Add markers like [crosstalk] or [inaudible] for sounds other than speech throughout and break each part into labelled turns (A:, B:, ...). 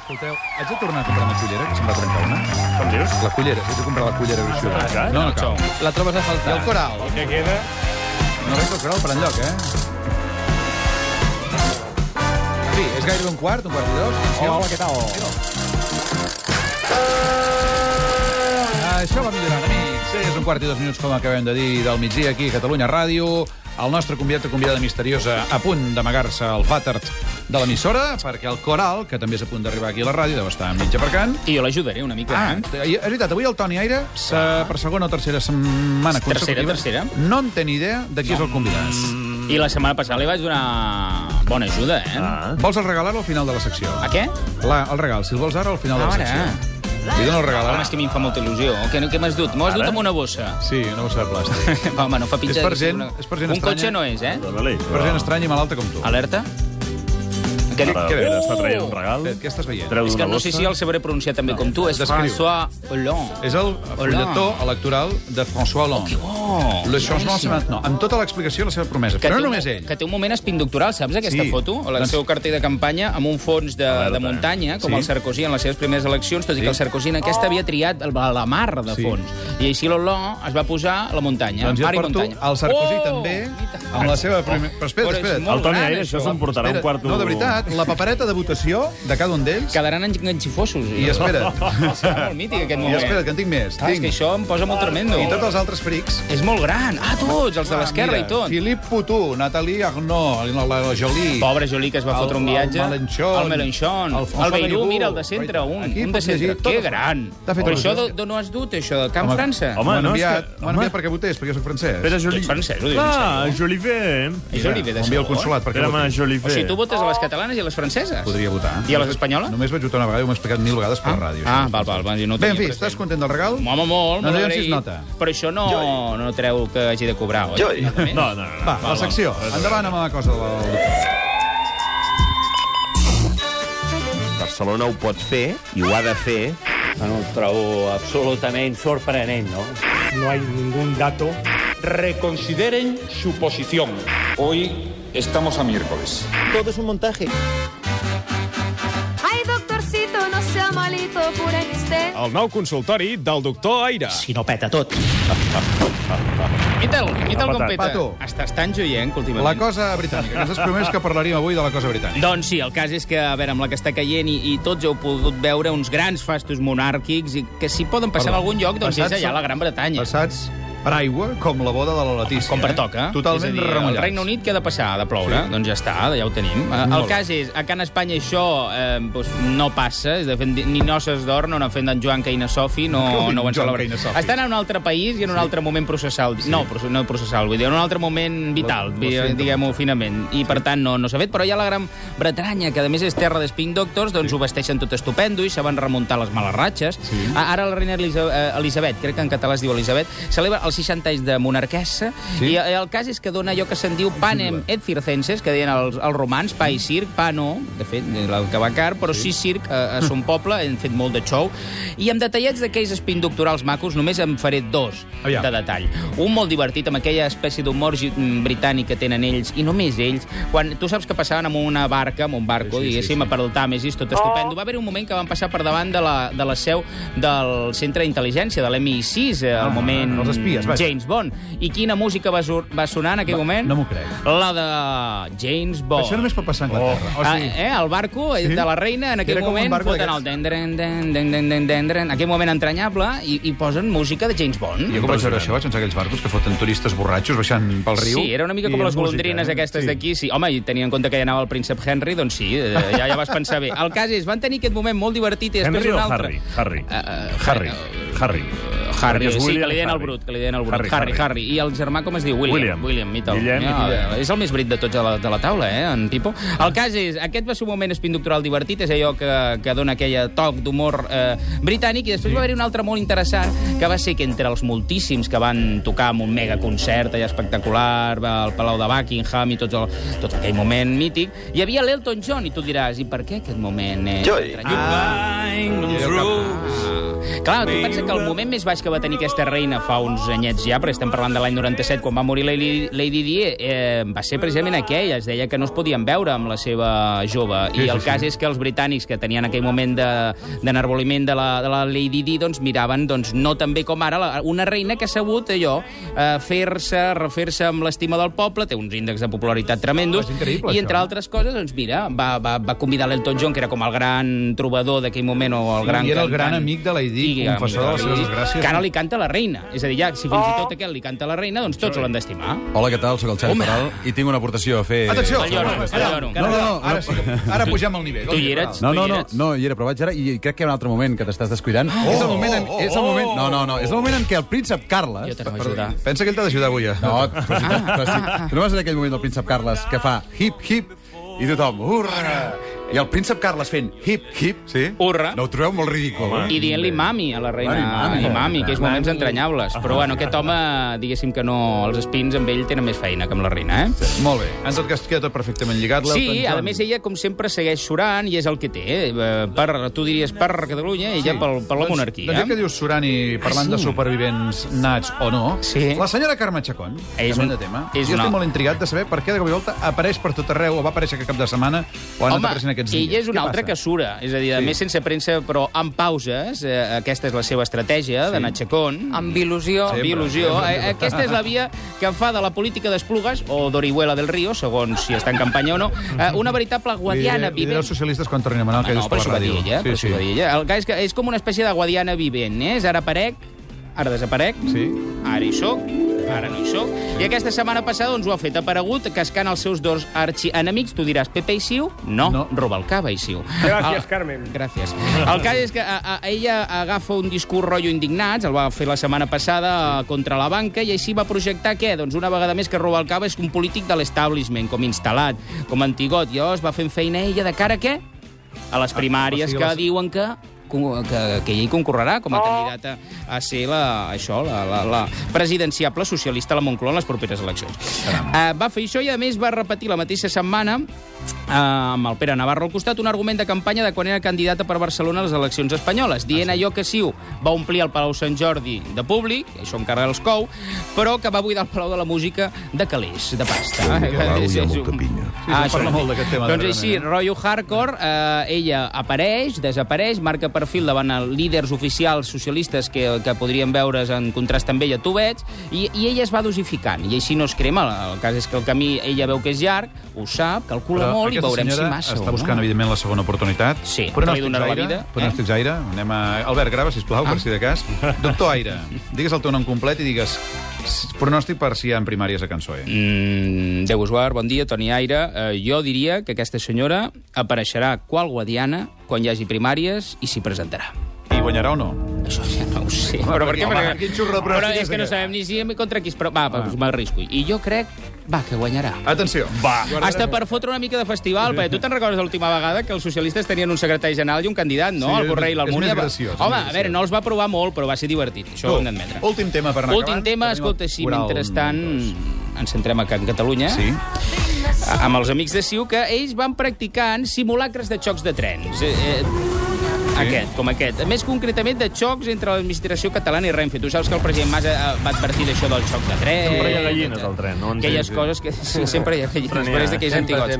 A: Escolteu, haig de tornar a comprar una cullera, que se'm va trencar una.
B: Com dius?
A: La cullera, haig de comprar la cullera gruixuda.
B: trencat?
A: No, no cal. La trobes a faltar.
C: I el coral?
B: El que queda...
A: No veig el coral per enlloc, eh?
C: Sí, és gairebé un quart, un quart de dos. Atenció.
A: Hola,
C: què tal?
A: Ah, Això va millorant, amics. És un quart i dos minuts, com acabem de dir, del migdia aquí a Catalunya Ràdio. El nostre convidat o convidada misteriosa a punt d'amagar-se al vàter de l'emissora, perquè el coral, que també és a punt d'arribar aquí a la ràdio, deu estar mitja aparcant.
D: I jo l'ajudaré una mica.
A: Ah,
D: eh?
A: és veritat, avui el Toni Aire, se- per segona o tercera setmana
D: Tercera,
A: consecutiva,
D: tercera. Mm,
A: no en té ni idea de qui és el convidat.
D: eh? I la setmana passada li vaig donar bona ajuda, eh?
B: Ah.
A: Vols el regalar-lo al final de la secció?
D: A què?
A: La, el regal, si el vols ara, al final de la
D: Ara.
A: secció. Li dono el regal
D: Home,
A: ara?
D: és que a mi em fa molta il·lusió. Què, què m'has dut? M'ho has
B: Ara?
D: dut amb una bossa. [laughs]
A: Sí, una bossa de plàstic.
D: Va, home, no fa
A: És
D: pitja...
A: per
D: de que sigui
A: gent- és per gent
D: Un
A: estranya.
D: cotxe no és, eh?
B: Dóna-li.
A: Per gent estranya i malalta com tu.
D: Alerta. Aquest...
B: Ara,
A: Què
B: que
A: veus?
B: està traient un regal.
A: Què, Eh, què estàs veient?
B: Treu
D: És que
B: d'una
D: no sé
B: bossa.
D: si el sabré pronunciar també com tu. És
A: Descriu.
D: François Hollande.
A: És el fulletó electoral de François Hollande.
D: Oh,
A: Le changement, c'est
D: boníssim.
A: maintenant. Amb tota l'explicació i la seva promesa.
D: Que
A: Però
D: té
A: no
D: un-
A: només ell.
D: Que té un moment espindoctoral, saps, aquesta
A: Sí.
D: foto? O el
A: Doncs-
D: seu cartell de campanya amb un fons de,
B: Alerta.
D: de muntanya, com
A: Sí.
D: el Sarkozy en les seves primeres eleccions, tot i
A: Sí.
D: que el Sarkozy en aquesta havia triat el- la mar de
A: Sí.
D: fons. I així l'Oló es va posar la muntanya,
A: Doncs jo
D: mar i
A: et porto
D: muntanya.
A: el Sarkozy
D: Oh!
A: també,
D: I tant.
A: amb la seva primera... Però
D: Però
A: espera't,
D: és
A: espera't.
D: molt
B: El Toni
D: gran,
B: Aire,
D: això.
B: això se'n portarà un
A: Espera't.
B: quarto...
A: No, de veritat, la papereta de votació de cada un d'ells...
D: Quedaran enganxifosos.
A: I
D: [laughs]
A: espera't.
D: Serà molt mític, aquest
A: I
D: moment.
A: espera't, que en tinc més.
D: Clar, és que
A: Tinc.
D: això em posa molt tremendo.
A: I tots els altres frics.
D: És molt gran. Ah, tots, els de
A: Ah,
D: l'esquerra
A: mira,
D: i tot.
A: Philippe Poutou, Nathalie Arnaud, la, la, la Jolie...
D: Pobre Jolí, que es va
A: El-
D: fotre un viatge.
A: el Melenchon.
D: El Melenchon.
A: El
D: El,
A: François
D: el Beirú,
A: Bayrou.
D: mira, el de centre, un,
A: Aquí
D: un de
A: pots
D: centre.
A: llegir tot
D: Que
A: el-
D: gran.
A: T'ha fet
D: Però
A: il·lusió.
D: això d'on d'on ho has dut, això, de Camp
A: Home,
D: França?
B: home,
A: M'han
B: no, és
A: enviat,
B: que-
A: m'han
B: home.
A: enviat perquè votés, perquè jo soc francès.
B: Pera
D: Tu
B: Joli...
D: ets francès, ho dius en
B: Clar,
D: sèrio?
B: Jolivet.
D: És Jolivet, de
A: M'envia el
D: segon.
A: consulat perquè
B: Ah, Espera,
A: voti.
B: Jolivet.
D: eh? O sigui, tu votes a les catalanes i a les franceses?
A: Podria votar.
D: I a les espanyoles?
A: Només vaig votar una vegada i ho hem explicat mil vegades per ràdio. això.
D: Ah, val, val, val. jo No ho
A: Bé, en
D: tenia
A: fi,
D: present.
A: estàs content del regal?
D: Home, molt,
A: No
D: molt
A: diguem si es
D: agraït.
A: nota.
D: Però això no, no treu que hagi de cobrar, oi?
E: Joi.
D: Nada més.
B: No, no, no.
A: Va, la secció. Endavant amb la cosa de la...
E: Barcelona ho pot fer i ho ha de fer.
F: Bueno, ho trobo absolutament sorprenent, no?
G: No hay ningún dato.
H: Reconsideren su posición. Hoy estamos a miércoles.
I: Ay, doctorcito, no sea malito, curen usted.
B: El nou consultori del doctor Aire.
G: Si no peta tot.
D: Imita'l, imita'l com
B: Patat.
D: peta.
A: Pato.
D: Estàs tan joient, que últimament.
A: La cosa britànica. Que ens has promès que parlaríem avui de la cosa britànica.
D: Doncs sí, el cas és que, a veure, amb la que està caient i, i tots heu pogut veure uns grans fastos monàrquics i que si poden passar en
A: Perdó.
D: algun lloc, doncs
A: Passats
D: és allà, a la Gran Bretanya.
A: Passats per aigua, com la boda de la Letícia.
D: Com
A: eh?
D: pertoca.
A: Totalment
D: és a dir,
A: remullats.
D: El Regne Unit què ha de passar? Ha de ploure?
A: Sí.
D: Sí. Doncs ja està, ja ho tenim. Eh,
A: Molt
D: El
A: bé.
D: cas és, a Can Espanya això eh, doncs no passa, és de fet, ni noces d'or no n'han fet d'en Joan Caïna Sofi,
A: [laughs]
D: no,
A: Com
D: no ho han
A: Joan
D: celebrat.
A: Caïna Sofi?
D: Estan en un altre país i en un altre moment processal. No, proce- no processal, vull dir, en un altre moment vital,
A: Lo- lo
D: vi-
A: siento.
D: diguem-ho finament. I, per tant, no, no s'ha fet, però hi ha la Gran Bretanya, que a més és terra de Spin Doctors, doncs ho vesteixen tot estupendo i saben remuntar les males ratxes.
A: Sí.
D: A- Ara la reina Elisa- eh, Elisabet, crec que en català es diu Elisabet, celebra els 60 anys de monarquessa
A: Sí.
D: sí. i eh, el cas és que dona allò que se'n diu panem et circenses, que deien els, els romans, pa i circ, pa no, de fet, el que va car, però sí, sí circ a, a son poble, hem fet molt de xou, i amb detallets d'aquells espin doctorals macos només en faré dos
A: Aviam.
D: de detall. Un molt divertit, amb aquella espècie d'humor gi- mm, britànic que tenen ells, i només ells, quan tu saps que passaven amb una barca, amb un
A: Sí, sí,
D: barco, sí,
A: sí,
D: sí, diguéssim,
A: sí.
D: sí, per el Tàmesis, tot estupendo. Va haver un moment que van passar per davant de la, de la seu del centre d'intel·ligència, de l'MI6, eh, al
A: Ah,
D: moment
A: els espies, vaja.
D: James Bond. I quina música va, sur- va sonar en aquell
A: Va,
D: moment?
A: no m'ho crec.
D: La de James Bond.
A: Això només pot passar a Anglaterra.
D: Oh, sí. eh, el barco sí? de la reina en aquell
A: Era com un
D: moment
A: barco
D: foten el den, den, den, den, den, den, den, den, aquell moment entranyable i, i posen música de James Bond.
A: Jo com vaig veure això, vaig sense aquells barcos que foten turistes borratxos baixant pel riu.
D: Sí, era una mica com
A: I
D: les
A: música,
D: golondrines
A: eh?
D: aquestes
A: Sí.
D: d'aquí. Sí. Home, i tenint en compte que hi anava el príncep Henry, doncs sí, eh, ja, ja vas pensar bé. El cas és, van tenir aquest moment molt divertit i després
B: Henry
D: un
B: o
D: altre.
B: Harry? Harry.
D: eh,
B: Harry. Harry. Perquè
D: Harry,
B: és
D: sí, que
B: William
D: li deien
B: i
D: el
B: Harry.
D: brut, que li deien el brut.
B: Harry,
D: Harry, Harry.
B: Harry.
D: I el germà com es diu? William.
B: William.
D: William, i tal.
B: Guillem i
D: Ah,
B: Guillem.
D: és el més brit de tots a la, de la taula, eh, en Pipo. El cas és, aquest va ser un moment espinductoral divertit, és allò que, que dona aquella toc d'humor eh, britànic, i després va haver-hi un altre molt interessant, que va ser que entre els moltíssims que van tocar amb un mega concert allà espectacular, va al Palau de Buckingham i tot, el, tot aquell moment mític, hi havia l'Elton John, i tu diràs, i per què aquest moment? Eh,
E: Joy.
D: entranyable?
A: I allò que-
D: Ah, Clar, tu pensa que el moment més baix que va tenir aquesta reina fa uns anyets ja, perquè estem parlant de l'any 97, quan va morir Lady, Lady Di, eh, va ser precisament aquella. Es deia que no es podien veure amb la seva jove. Sí, I el sí, cas sí. és que els britànics, que tenien aquell moment d'enarboliment de, de, la, de la Lady Di, doncs miraven doncs, no tan bé com ara la, una reina que ha sabut allò, eh, fer-se, refer-se amb l'estima del poble, té uns índexs de popularitat tremendos,
A: És increïble,
D: i entre
A: això.
D: altres coses, doncs mira, va, va, va convidar l'Elton John, que era com el gran trobador d'aquell moment, o el
A: Sí,
D: gran
A: i era el
D: cantant.
A: gran amic de Lady Di,
D: I,
A: confessor de les
D: amic
A: seves
D: Lady Di,
A: desgràcies.
D: Que ara li canta la reina. És a dir, ja, si fins i tot aquest li canta la reina, doncs tots l'han d'estimar.
C: Hola, què tal? Soc el Xavi Peral i tinc una aportació a fer...
A: Atenció!
D: El lloro, el lloro.
C: No, no, no.
A: Ara, sí, que- ara pugem al nivell.
D: Tu hi eres?
C: No, no,
D: Tu hi
C: no,
D: eres?
C: no, hi era, però vaig ara i crec que hi ha un altre moment que t'estàs descuidant. Oh, és el moment en, és el moment, no, no, no, és el moment en què el príncep Carles...
D: Jo te no ajudar. Ah,
A: Pensa que ell t'ha d'ajudar avui, eh? Doncs ja.
C: No, però si, però si, tu no vas en aquell moment del príncep Carles que fa hip-hip i tothom... Urra! I el príncep Carles fent hip-hip... Sí?
D: Urra.
C: No ho trobeu molt ridícul?
D: I dient-li mami a la reina
C: Mami, mami.
D: i mami, que és moments entranyables. Però bueno, aquest home, diguéssim que no, els espins amb ell tenen més feina que amb la reina, eh?
A: Molt bé. En tot cas, queda tot perfectament lligat. l'Elton
D: Sí,
A: John.
D: a més ella, com sempre, segueix surant i és el que té. Eh? Per, tu diries per Catalunya i ella sí. per, per la monarquia.
A: Doncs, doncs ja que dius Sorani, parlant ah, sí? de supervivents nats o no,
D: Sí.
A: la senyora Carme Chacón,
D: És
A: canviant
D: un-
A: de tema,
D: és
A: jo
D: una-
A: estic molt intrigat de saber per què de cop i volta apareix per tot arreu, o va aparèixer aquest cap de setmana, o ha anat apareixent aquests dies.
D: ella és una
A: Què
D: altra
A: passa?
D: que sura, és a dir, a més sense premsa, però amb pauses, eh, aquesta és la seva estratègia, sí. d'anar xacón.
J: Amb il·lusió.
D: Amb il·lusió. Eh, Aquesta és la via que fa de la política d'Esplugues, o d'Orihuela del Río, segons si està en campanya o no, eh, una veritable
A: Li
D: guadiana
A: diré- Li diré
D: vivent.
A: als socialistes quan tornem a anar, el
D: Ah,
A: que
D: no,
A: dius
D: però
A: per
D: s'ho
A: la
D: va dir
A: ràdio.
D: ella, però s'ho va dir ella. El cas és que és com una espècie de guadiana vivent, eh? És ara parec, ara desaparec,
A: Sí.
D: ara hi soc, ara no hi soc. I aquesta setmana passada doncs, ho ha fet aparegut cascant els seus dos arxienemics. Tu diràs Pepe i Siu? No, no.
A: No.
D: Robalcaba i Siu.
G: Gràcies,
D: El-
G: Carmen.
D: Gràcies. El cas és que a, a, ella agafa un discurs rotllo indignats, el va fer la setmana passada eh, contra la banca, i així va projectar què? Doncs una vegada més que Robalcaba és un polític de l'establishment, com instal·lat, com antigot. I llavors va fent feina ella de cara a què? A
E: Ah,
D: les primàries
A: sigui,
D: que
A: les-
D: diuen que que, que ell hi concorrerà com a candidata a ser la, això, la, la, la presidenciable socialista a la Moncloa en les properes eleccions. Uh, va fer això i, a més, va repetir la mateixa setmana eh, amb el Pere Navarro al costat, un argument de campanya de quan era candidata per Barcelona a les eleccions espanyoles,
E: Ah,
D: dient allò que Siu va omplir el Palau Sant Jordi de públic, això encara els cou, però que va buidar el Palau de la Música de calés, de pasta.
E: Palau hi
D: [laughs]
E: ha
D: És un-
E: molta pinya.
A: Sí, se'n parla
D: Ah, això.
A: molt d'aquest tema,
D: Doncs
A: darrerament,
D: així,
A: eh?
D: rotllo hardcore, eh, ella apareix, desapareix, marca perfil davant els líders oficials socialistes que, que podrien veure's en contrast amb ella, tu veig, i, i ella es va dosificant, i així no es crema. El cas és que el camí ella veu que és llarg, ho sap, calcula
A: Però
D: molt i
A: aquesta
D: veurem si
A: senyora
D: massa
A: està
D: o no.
A: buscant, evidentment, la segona oportunitat.
D: Sí,
A: Pronòstics
D: que li donarà la
A: aire,
D: vida, eh?
A: Pronòstics aire. Anem a... Albert, grava, sisplau, ah. per si de cas. Doctor Aire, digues el teu nom complet i digues s- pronòstic per si hi ha en primàries a Cançoe.
D: Mm, Déu us guard, bon dia, Toni Aire. Eh, jo diria que aquesta senyora apareixerà qual guadiana quan hi hagi primàries i s'hi presentarà.
A: I guanyarà o no?
D: Això ja no ho sé.
A: Home,
D: però per què?
A: home,
D: Perquè-
A: quin xurro de Ah.
D: però
A: pronòstic
D: és
A: és
D: que no
A: aquest?
D: sabem ni si contra qui es... Però va, doncs m'arrisco. I jo crec, va, que guanyarà.
A: Atenció. Va.
D: Hasta per fotre una mica de festival, perquè tu te'n recordes de l'última vegada que els socialistes tenien un secretari general i un candidat, no?
A: Sí,
D: el Borrell i
A: és
D: l'Almúnia.
A: més graciós, és
D: Home,
A: més
D: a veure,
A: graciós.
D: no els va provar molt, però va ser divertit. Això ho hem d'admetre.
A: Últim tema per anar
D: Últim
A: acabant.
D: tema,
A: Tenim el
D: escolta, si
A: coral
D: mentrestant
A: dos.
D: ens centrem a Can Catalunya
A: Sí?
D: a- amb els amics de Siu que ells van practicant simulacres de xocs de trens. Eh, eh, aquest, com aquest. Més concretament de xocs entre l'administració catalana i Renfe. Tu saps que el president Mas eh, va advertir d'això del xoc de trens.
B: Sempre hi ha gallines al tren, no?
D: Aquelles coses que [laughs] sí, sempre hi ha gallines, però és d'aquells antigots.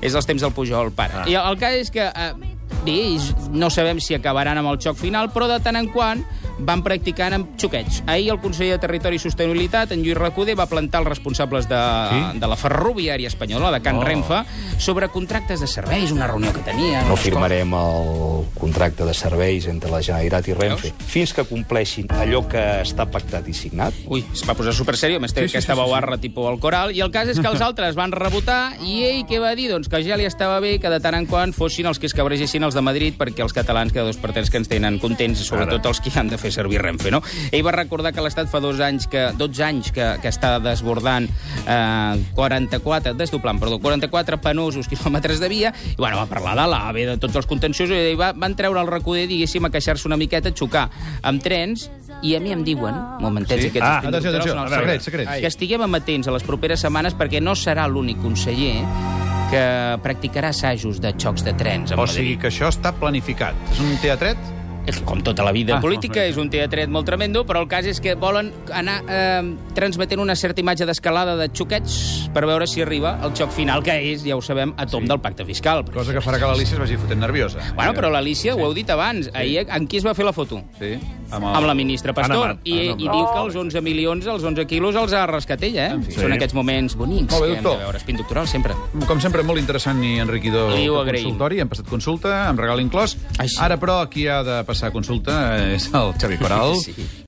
D: És dels temps del Pujol, pare. Ah. I el, el cas és que... Eh, bé, ells no sabem si acabaran amb el xoc final, però de tant en quant van practicant amb xoquets. Ahir el conseller de Territori i Sostenibilitat, en Lluís Recoder, va plantar els responsables de, sí? de la ferroviària espanyola, de Can oh. Renfe, sobre contractes de serveis, una reunió que tenien...
K: No firmarem el contracte de serveis entre la Generalitat i Renfe fins que compleixin allò que està pactat i signat.
D: Ui, es va posar super sèrio, més té sí, aquesta sí, sí, bauarra tipus al coral, i el cas és que els altres van rebotar, i ell què va dir? Doncs que ja li estava bé que de tant en quant fossin els que es cabregessin els de Madrid, perquè els catalans cada dos per tres que ens tenen contents, i sobretot els que han de fer servir Renfe, no? Ell va recordar que l'Estat fa dos anys que, 12 anys que, que està desbordant eh, 44, desdoblant, perdó, 44 penosos quilòmetres de via, i bueno, va parlar de l'AVE, de tots els contenciosos, i va, van treure el recuder, diguéssim, a queixar-se una miqueta, a xocar amb trens, i a mi em diuen, momentets, sí? aquests
B: Ah,
D: espins
A: atenció, atenció,
D: doctorals,
A: secrets, secrets.
D: que estiguem amatents a les properes setmanes perquè no serà l'únic conseller que practicarà assajos de xocs de trens a
A: O
D: Madrid.
A: sigui que això està planificat. És un teatret?
D: com tota la vida ah, política, és un teatret molt tremendo, però el cas és que volen anar eh, transmetent una certa imatge d'escalada de xoquets per veure si arriba el xoc final, que és, ja ho sabem, a tom sí. del pacte fiscal.
A: Cosa que farà que l'Alícia es vagi fotent nerviosa.
D: Bueno, però l'Alícia, sí. ho heu dit abans, ahir amb qui es va fer la foto?
A: Sí.
D: Amb, el... amb la ministra Pastor.
B: Ana Amat,
D: I,
B: Ana Amat.
D: I diu que els 11 milions, els 11 quilos, els ha rescat ella, eh? Són aquests moments bonics
A: Molt bé,
D: que hem de
A: doctor.
D: veure. Espín doctoral, sempre.
A: Com sempre, molt interessant i enriquidor
D: Li
A: el
D: ho agraïm.
A: consultori. Hem passat consulta, amb regal inclòs.
D: Ai, sí.
A: Ara, però, qui ha de passar consulta és el Xavi Coral,
D: [laughs] Sí.